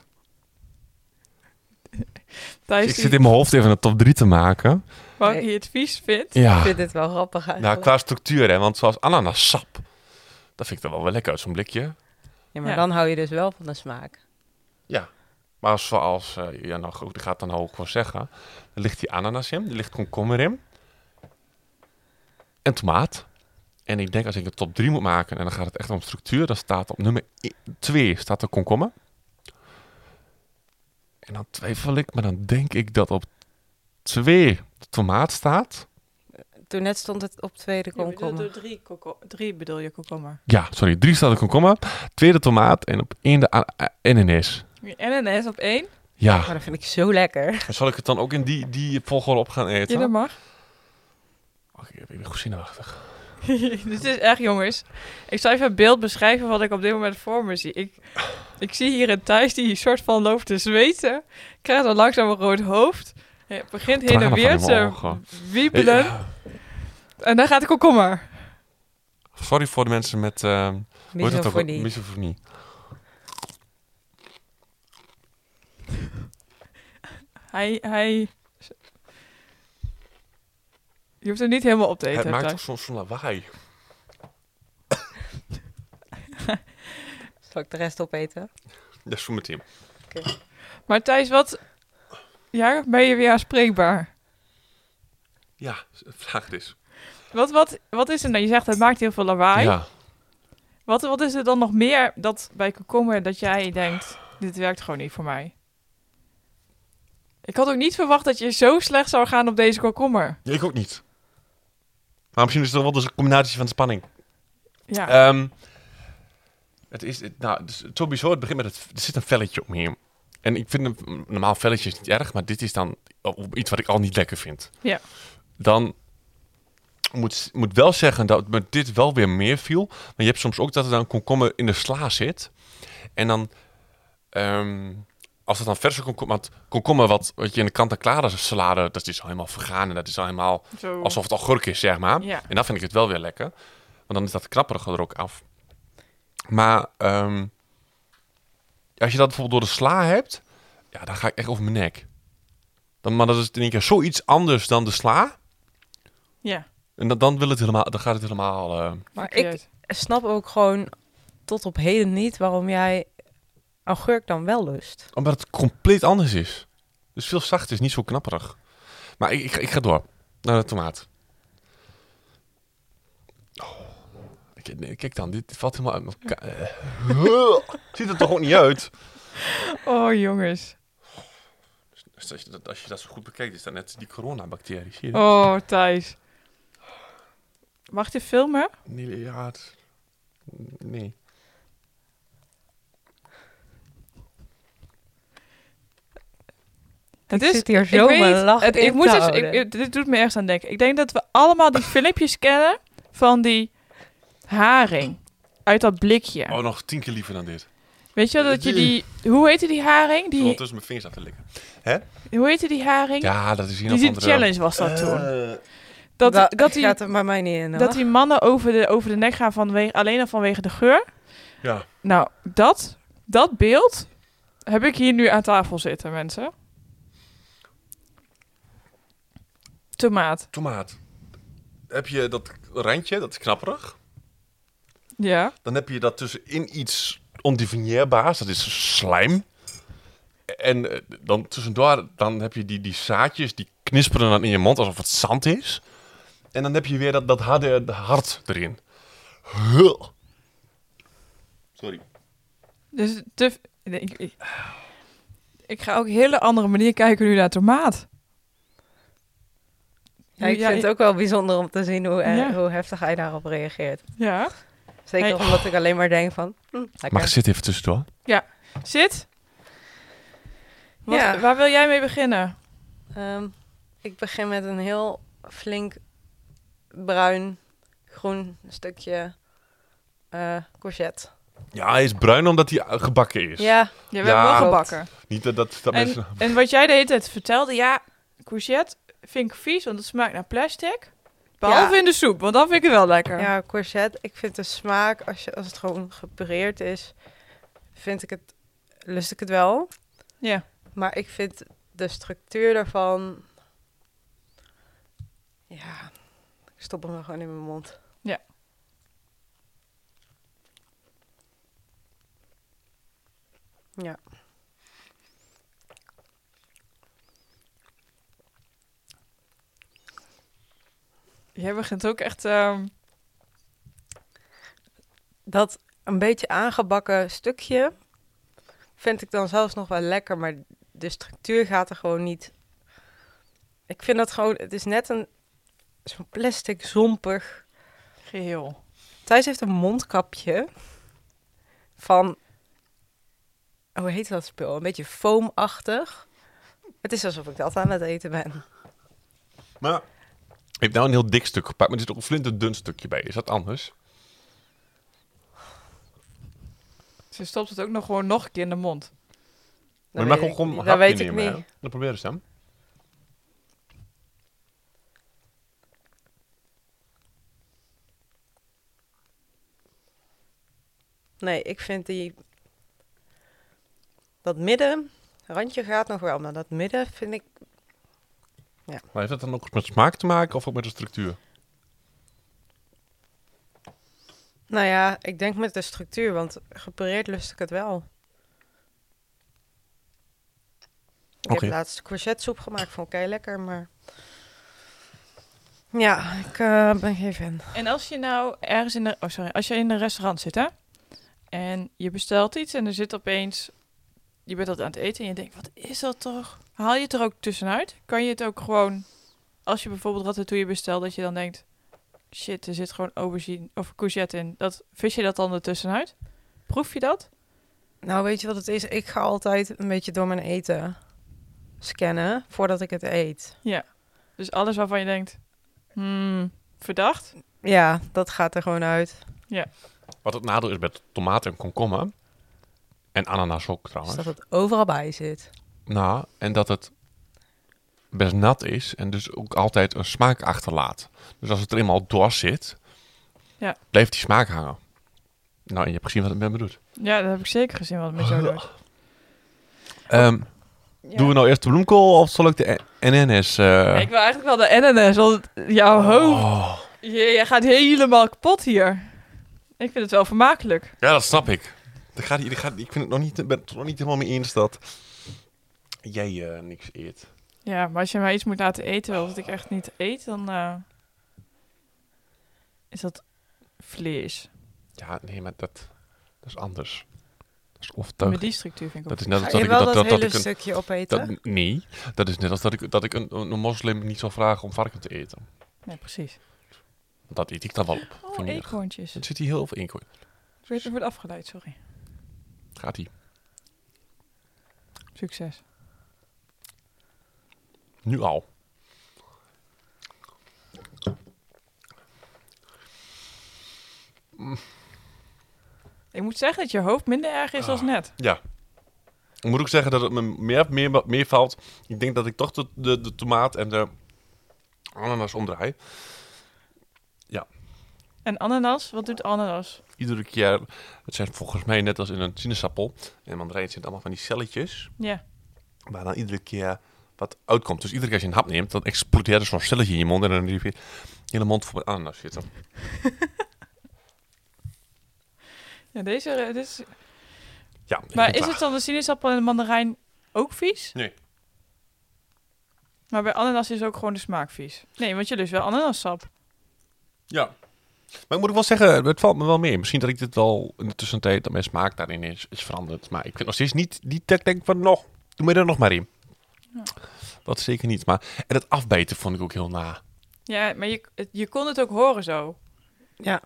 Speaker 3: Thijs,
Speaker 1: ik
Speaker 3: die-
Speaker 1: zit in mijn hoofd even een top 3 te maken.
Speaker 3: Wout
Speaker 5: Nee.
Speaker 3: die het vies vindt.
Speaker 5: Ik
Speaker 1: Ja.
Speaker 5: vind dit wel grappig
Speaker 1: Ah. Nou,
Speaker 5: eigenlijk.
Speaker 1: qua structuur, hè. Want zoals ananassap, dat vind ik dan wel wel lekker uit zo'n blikje.
Speaker 4: Ja, maar
Speaker 3: Ja.
Speaker 4: dan hou je dus wel van de smaak.
Speaker 1: Maar zoals, eh, ja, nou goed, ik ga het dan ook wel zeggen. Er ligt die ananas in, er ligt komkommer in. En tomaat. En ik denk als ik de top 3 moet maken en dan gaat het echt om structuur, dan staat op nummer 2 staat de komkommer. En dan twijfel ik, maar dan denk ik dat op 2 de tomaat staat.
Speaker 5: Toen net stond het op tweede komkommer.
Speaker 3: drie, drie bedoel je komkommer.
Speaker 1: Ja, sorry, 3 staat de komkommer, 2 de tomaat en op 1 de a- a- ananas.
Speaker 3: En een S op één.
Speaker 1: Ja,
Speaker 5: Maar Oh, dat vind ik zo lekker.
Speaker 1: zal ik het dan ook in die, die volgorde op gaan
Speaker 3: Ja, dat
Speaker 1: eten?
Speaker 3: mag.
Speaker 1: Oké, ik ben goed
Speaker 3: Dit is echt, jongens. Ik zal even het beeld beschrijven wat ik op dit moment voor me zie. Ik, ik zie hier een Thijs die een soort van loopt te zweten. Krijgt dan langzaam een rood hoofd. Hij begint heen en
Speaker 1: Tranen
Speaker 3: weer
Speaker 1: van in mijn
Speaker 3: te
Speaker 1: ogen.
Speaker 3: wiebelen. En dan gaat de komkommer.
Speaker 1: Sorry voor de mensen met ehm, hoe heet dat ook?
Speaker 5: Misofonie.
Speaker 1: misofonie.
Speaker 3: Hij, hij... Je hoeft hem niet helemaal op te eten.
Speaker 1: Het maakt ook
Speaker 3: Thijs.
Speaker 1: soms zo'n lawaai.
Speaker 5: Zal ik de rest opeten?
Speaker 1: Ja, zo meteen.
Speaker 3: Maar Thijs, wat... Ja, ben je weer aanspreekbaar?
Speaker 1: Ja, vraag het eens.
Speaker 3: Wat, wat, wat is er nou? Je zegt het maakt heel veel lawaai.
Speaker 1: Ja.
Speaker 3: Wat, wat is er dan nog meer dat bij komkommer dat jij denkt, dit werkt gewoon niet voor mij? Ik had ook niet verwacht dat je zo slecht zou gaan op deze komkommer.
Speaker 1: Ja, Ik ook niet. Maar misschien is het wel dus een combinatie van spanning.
Speaker 3: Ja,
Speaker 1: Ehm, het is, het- nou, dus sowieso, het begint met het, er zit een velletje omheen. En ik vind een normaal velletje is niet erg, maar dit is dan op- iets wat ik al niet lekker vind.
Speaker 3: Ja.
Speaker 1: Dan moet, moet wel zeggen dat me dit wel weer meer viel. Maar je hebt soms ook dat er dan komkommer in de sla zit. En dan, ehm, als het dan verse komkommer, want komkommer wat, wat je in de kant-en-klare salade, dat is al helemaal vergaan en dat is al helemaal
Speaker 3: zo.
Speaker 1: alsof het al gurk is, zeg maar.
Speaker 3: Ja.
Speaker 1: En dan vind ik het wel weer lekker. Want dan is dat knapperige er ook af. Maar ehm, als je dat bijvoorbeeld door de sla hebt, ja, dan ga ik echt over mijn nek. Dan, maar dat is in één keer zoiets anders dan de sla.
Speaker 3: Ja,
Speaker 1: En dan, dan, wil het helemaal, dan gaat het helemaal... eh,
Speaker 5: Maar
Speaker 3: verkeerd.
Speaker 5: ik snap ook gewoon tot op heden niet waarom jij augurk dan wel lust.
Speaker 1: omdat het compleet anders is. Dus veel zachter is, niet zo knapperig. Maar ik, ik, ga- ik ga door. Naar de tomaat. Oh. Kijk, nee, kijk dan, dit valt helemaal uit elkaar. Eh. Ziet er toch ook niet uit?
Speaker 3: Oh jongens.
Speaker 1: Dus als je, dat, als je dat zo goed bekijkt, is dat net die coronabacterie. Zie je dat?
Speaker 3: Oh Thijs. Mag je filmen?
Speaker 1: Nee, ja, het- nee.
Speaker 3: Het
Speaker 5: ik
Speaker 3: is.
Speaker 5: zit hier
Speaker 3: Ik
Speaker 5: zo
Speaker 3: weet
Speaker 5: mijn lach
Speaker 3: het,
Speaker 5: in
Speaker 3: ik
Speaker 5: te
Speaker 3: moet dus,
Speaker 5: houden.
Speaker 3: ik, ik- Dit doet me ergens aan denken. Ik denk dat we allemaal die filmpjes kennen van die haring uit dat blikje.
Speaker 1: Oh, nog tien keer liever dan dit.
Speaker 3: Weet je wel dat je
Speaker 1: die-
Speaker 3: die. Hoe heette die haring?
Speaker 1: Die...
Speaker 3: Die,
Speaker 1: Ondertussen mijn vingers af te likken.
Speaker 3: hoe heette die haring?
Speaker 1: Ja, dat is hier
Speaker 3: Die
Speaker 1: nog
Speaker 3: die challenge was dat toen. Dat,
Speaker 5: Wa-
Speaker 3: dat, die,
Speaker 5: gaat er bij mij niet in. hoor.
Speaker 3: dat die mannen over de, over de nek gaan vanwege, alleen al vanwege de geur.
Speaker 1: Ja.
Speaker 3: Nou, dat, dat beeld heb ik hier nu aan tafel zitten, mensen. Tomaat.
Speaker 1: Tomaat. Heb je dat randje, dat is knapperig.
Speaker 3: Ja.
Speaker 1: Dan heb je dat tussenin iets ondefinieerbaars. Dat is slijm. En eh, dan tussendoor dan heb je die, die zaadjes, die knisperen dan in je mond alsof het zand is. En dan heb je weer dat, dat harde hart erin. Huh. Sorry.
Speaker 3: Dus te... Ik, ik, ik ga ook een hele andere manier kijken nu naar tomaat.
Speaker 4: Ja, ik
Speaker 3: Ja,
Speaker 4: vind het ook wel bijzonder om te zien hoe, eh,
Speaker 3: Ja.
Speaker 4: hoe heftig hij daarop reageert.
Speaker 3: Ja.
Speaker 4: Zeker
Speaker 3: Hey.
Speaker 4: omdat ik alleen maar denk van... Hm, lekker.
Speaker 1: Mag ik zitten even tussendoor?
Speaker 3: Zit? Wat,
Speaker 4: Ja.
Speaker 3: Waar wil jij mee beginnen?
Speaker 4: Ehm, ik begin met een heel flink bruin, groen stukje eh, courgette.
Speaker 1: Ja, hij is bruin omdat hij eh, gebakken is.
Speaker 4: Ja,
Speaker 3: Je
Speaker 1: Ja.
Speaker 3: hebt wel gebakken.
Speaker 1: Niet dat, dat, dat
Speaker 3: En,
Speaker 1: mensen...
Speaker 3: en wat jij de hele tijd vertelde, ja, courgette vind ik vies, want het smaakt naar plastic. Behalve
Speaker 4: Ja.
Speaker 3: in de soep, want dan vind ik het wel lekker.
Speaker 4: ja, courgette. Ik vind de smaak, als, je, als het gewoon gepureerd is, vind ik het, lust ik het wel.
Speaker 3: Ja.
Speaker 4: Maar ik vind de structuur daarvan... Ja, ik stop hem maar gewoon in mijn mond.
Speaker 3: Jij begint ook echt... ehm,
Speaker 4: Dat een beetje aangebakken stukje vind ik dan zelfs nog wel lekker, maar de structuur gaat er gewoon niet. Ik vind dat gewoon, het is net een zo'n plastic zompig.
Speaker 3: geheel.
Speaker 4: Thijs heeft een mondkapje van, hoe heet dat spul? Een beetje foamachtig. Het is alsof ik dat aan het eten ben.
Speaker 1: Maar... Ik heb nou een heel dik stuk gepakt, maar er zit ook een flinterdun stukje bij. Is dat anders?
Speaker 3: Ze stopt het ook nog gewoon nog een keer in de mond.
Speaker 1: Maar
Speaker 4: Dat
Speaker 1: je mag
Speaker 4: weet
Speaker 1: ook
Speaker 4: ik
Speaker 1: gewoon
Speaker 4: niet.
Speaker 1: een
Speaker 4: Dat
Speaker 1: hapje
Speaker 4: weet ik
Speaker 1: nemen, hè?
Speaker 4: niet.
Speaker 1: Dan probeer eens dan.
Speaker 4: Nee, ik vind die. Dat midden, randje gaat nog wel, maar dat midden vind ik.
Speaker 1: Maar heeft dat dan ook met smaak te maken of ook met de structuur?
Speaker 4: Nou ja, ik denk met de structuur, want gepareerd lust ik het wel. Ik
Speaker 1: Oké.
Speaker 4: heb laatst courgette soep gemaakt, vond ik heel lekker, maar. Ja, ik eh, ben geen fan.
Speaker 3: En als je nou ergens in de... Oh, sorry. Als je in een restaurant zit, hè? En je bestelt iets en er zit opeens... Je bent dat aan het eten en je denkt, wat is dat toch? Haal je het er ook tussenuit? Kan je het ook gewoon... Als je bijvoorbeeld ratatouille bestelt, dat je dan denkt... Shit, er zit gewoon aubergine of courgette in. Dat, vis je dat dan ertussenuit? Proef je dat?
Speaker 4: Nou, weet je wat het is? Ik ga altijd een beetje door mijn eten scannen voordat ik het eet.
Speaker 3: Dus alles waarvan je denkt... Hmm, verdacht?
Speaker 4: Ja, dat gaat er gewoon uit. Dus
Speaker 1: Wat het nadeel is met tomaten en komkommer. En ananas ook
Speaker 4: Dus
Speaker 1: trouwens.
Speaker 4: dat het overal bij zit.
Speaker 1: Nou, en dat het best nat is en dus ook altijd een smaak achterlaat. Dus als het er eenmaal door zit,
Speaker 3: Ja.
Speaker 1: blijft die smaak hangen. Nou, en je hebt gezien wat het met me doet.
Speaker 3: Ja, dat heb ik zeker gezien wat het met jou doet.
Speaker 1: Ehm, Doen we nou eerst de bloemkool of zal ik de N- NNS? eh,
Speaker 3: Ik wil eigenlijk wel de NNS, want jouw hoofd...
Speaker 1: oh.
Speaker 3: Je, jij gaat helemaal kapot hier. Ik vind het wel vermakelijk.
Speaker 1: Ja, dat snap ik. Ik, ga, die- ik, ga, ik vind het nog niet, ben het er nog niet helemaal mee eens dat jij eh, niks eet.
Speaker 3: Ja, maar als je mij iets moet laten eten wat ik echt niet eet, dan eh, is dat vlees.
Speaker 1: Ja, nee, maar dat, dat is anders. Dat is
Speaker 3: Met
Speaker 1: overtuigend.
Speaker 3: die structuur vind ik ook.
Speaker 1: Dat is net als
Speaker 4: Ga
Speaker 1: dat
Speaker 4: je
Speaker 1: ik
Speaker 4: wel
Speaker 1: dat,
Speaker 4: dat,
Speaker 1: dat, dat
Speaker 4: hele
Speaker 1: ik een
Speaker 4: stukje opeten?
Speaker 1: dat, nee, dat is net als dat ik dat ik een, een moslim niet zou vragen om varken te eten.
Speaker 3: Nee, precies.
Speaker 1: Dat eet ik dan wel op.
Speaker 3: Oh,
Speaker 1: Vind ik erg.
Speaker 3: eekhoorntjes.
Speaker 1: Het zit hier heel veel in. hoor.
Speaker 3: Ik weet ik word afgeleid, sorry.
Speaker 1: Gaat ie.
Speaker 3: Succes.
Speaker 1: Nu al.
Speaker 3: Ik moet zeggen dat je hoofd minder erg
Speaker 1: Ah.
Speaker 3: is dan net.
Speaker 1: Ja. Ik moet ook zeggen dat het me meer, meer, meer valt. Ik denk dat ik toch de, de, de tomaat en de ananas omdraai.
Speaker 3: En ananas, wat doet ananas?
Speaker 1: Iedere keer, het zijn volgens mij net als in een sinaasappel. En mandarijn zitten allemaal van die celletjes.
Speaker 3: Ja.
Speaker 1: Maar dan iedere keer wat uitkomt. Dus iedere keer als je een hap neemt, dan explodeert er zo'n celletje in je mond en dan heb je hele mond vol met ananas zitten.
Speaker 3: Ja, deze, eh, dit is-
Speaker 1: Ja, ik
Speaker 3: Maar
Speaker 1: ben
Speaker 3: is
Speaker 1: klaar.
Speaker 3: het dan de sinaasappel en de mandarijn ook vies?
Speaker 1: Nee.
Speaker 3: Maar bij ananas is ook gewoon de smaak vies. Nee, want je lust wel ananassap.
Speaker 1: Ja. Maar ik moet ook wel zeggen, het valt me wel mee. Misschien dat ik dit al in de tussentijd, dat mijn smaak daarin is, is veranderd. Maar ik vind nog steeds niet die tek denk van nog, doe mij er nog maar in.
Speaker 3: Ja.
Speaker 1: Dat zeker niet. Maar, en het afbijten vond ik ook heel na.
Speaker 3: Ja, maar je, het- je kon het ook horen zo.
Speaker 5: Ja.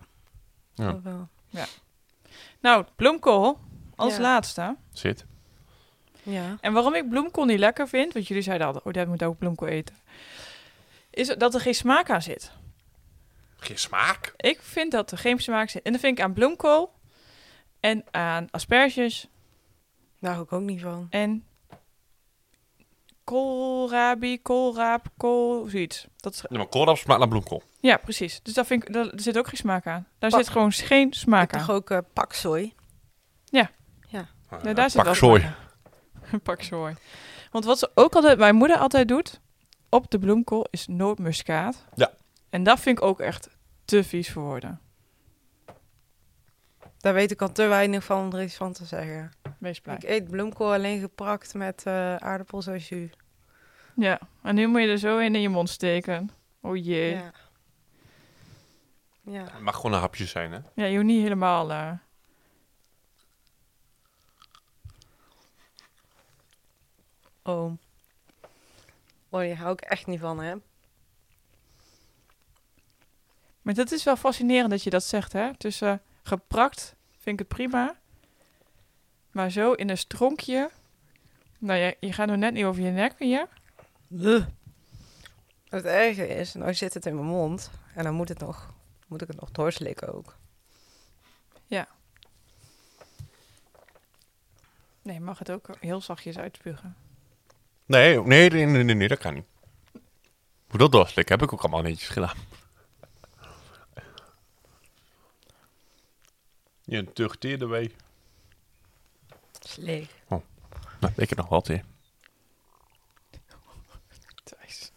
Speaker 1: Ja.
Speaker 5: Dat wel.
Speaker 3: Nou, bloemkool als
Speaker 5: Ja.
Speaker 3: laatste.
Speaker 1: Zit.
Speaker 5: Ja.
Speaker 3: En waarom ik bloemkool niet lekker vind, want jullie zeiden al, oh, dat moet ook bloemkool eten. Is dat er geen smaak aan zit.
Speaker 1: Geen smaak.
Speaker 3: Ik vind dat er geen smaak zit. En dat vind ik aan bloemkool en aan asperges
Speaker 5: Daar hou ik ook niet van.
Speaker 3: en koolrabi, koolraap, kool, zoiets. Dat is-
Speaker 1: Ja, maar koolraap smaakt naar bloemkool.
Speaker 3: ja, precies. Dus daar, vind ik, daar, er zit ook geen smaak aan. Daar
Speaker 5: Pa-
Speaker 3: zit gewoon geen
Speaker 5: Ik
Speaker 3: smaak aan.
Speaker 5: dacht ook eh paksoi.
Speaker 3: Ja, Nou, daar zit
Speaker 1: Pak
Speaker 3: wel
Speaker 1: zooi.
Speaker 3: smaak aan. Een pak zooi. Want wat ze ook altijd, mijn moeder altijd doet op de bloemkool is nootmuskaat.
Speaker 1: Ja.
Speaker 3: En dat vind ik ook echt te vies voor woorden.
Speaker 5: Daar weet ik al te weinig van om er iets van te zeggen.
Speaker 3: Wees blij.
Speaker 5: Ik eet bloemkool alleen geprakt met eh aardappels als jus.
Speaker 3: Ja, en nu moet je er zo in in je mond steken. Oh jee. Ja,
Speaker 5: Ja. Ja.
Speaker 1: Het mag gewoon een hapje zijn, hè?
Speaker 3: je hoeft niet helemaal... eh,
Speaker 5: Oh. Oh, die hou ik echt niet van, hè?
Speaker 3: Maar dat is wel fascinerend dat je dat zegt, hè? Tussen geprakt vind ik het prima. Maar zo in een stronkje. Nou, je, je gaat nog net niet over je nek weer.
Speaker 5: Het erge is, nou zit het in mijn mond. En dan moet, het nog, moet ik het nog doorslikken ook.
Speaker 3: Nee, je mag het ook heel zachtjes uitspugen.
Speaker 1: Nee, nee, nee, nee, nee, nee, dat kan niet. Hoe dat doorslikken heb ik ook allemaal netjes gedaan. Je tuchteerde mee.
Speaker 5: Sleeg.
Speaker 1: Nou, ik heb nog wel thee.
Speaker 3: Thijs.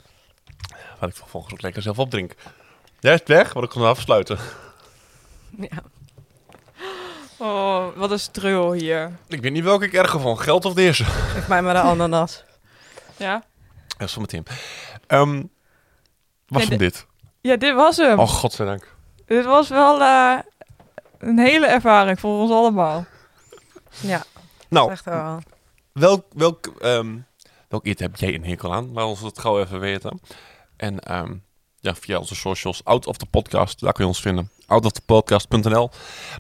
Speaker 1: Wat ik vervolgens ook lekker zelf opdrink. Jij is weg, want ik kon hem afsluiten.
Speaker 5: Ja.
Speaker 3: Oh, wat een streul hier.
Speaker 1: Ik weet niet welke ik erger van, geld of deze.
Speaker 5: Geef mij maar de ananas.
Speaker 3: Ja?
Speaker 1: Ja, zometeen. Ehm was
Speaker 3: Nee,
Speaker 1: hem dit?
Speaker 3: Ja, dit was hem.
Speaker 1: Oh, godzijdank.
Speaker 3: Dit was wel eh, een hele ervaring voor ons allemaal.
Speaker 5: Ja,
Speaker 1: Nou,
Speaker 5: echt wel.
Speaker 1: welk, welk, ehm, welk eten heb jij een hekel aan? Laat ons dat gauw even weten. En ehm, ja, via onze socials, Out of the Podcast, daar kun je ons vinden. Outofthepodcast.nl.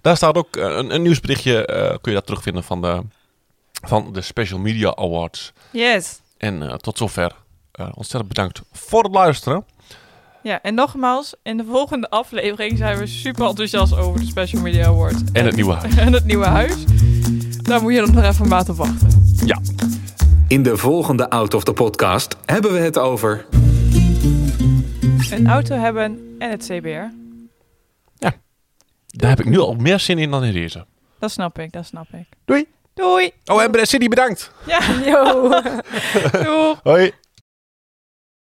Speaker 1: Daar staat ook eh, een, een nieuwsberichtje, eh, kun je daar terugvinden van de, van de Special Media Awards.
Speaker 3: Yes.
Speaker 1: En eh, tot zover. Eh, ontzettend bedankt voor het luisteren.
Speaker 3: Ja, en nogmaals, in de volgende aflevering zijn we super enthousiast over de Special Media Award.
Speaker 1: En het nieuwe huis.
Speaker 3: en het nieuwe huis. Daar moet je nog even maat op wachten.
Speaker 1: Ja.
Speaker 2: In de volgende Out of the Podcast hebben we het over...
Speaker 3: Een auto hebben en het CBR.
Speaker 1: Daar heb ik nu al meer zin in dan in deze.
Speaker 3: Dat snap ik, dat snap ik.
Speaker 1: Doei.
Speaker 3: Doei.
Speaker 1: Oh, en Brad City bedankt.
Speaker 3: Ja,
Speaker 5: Yo.
Speaker 3: doeg.
Speaker 1: Hoi.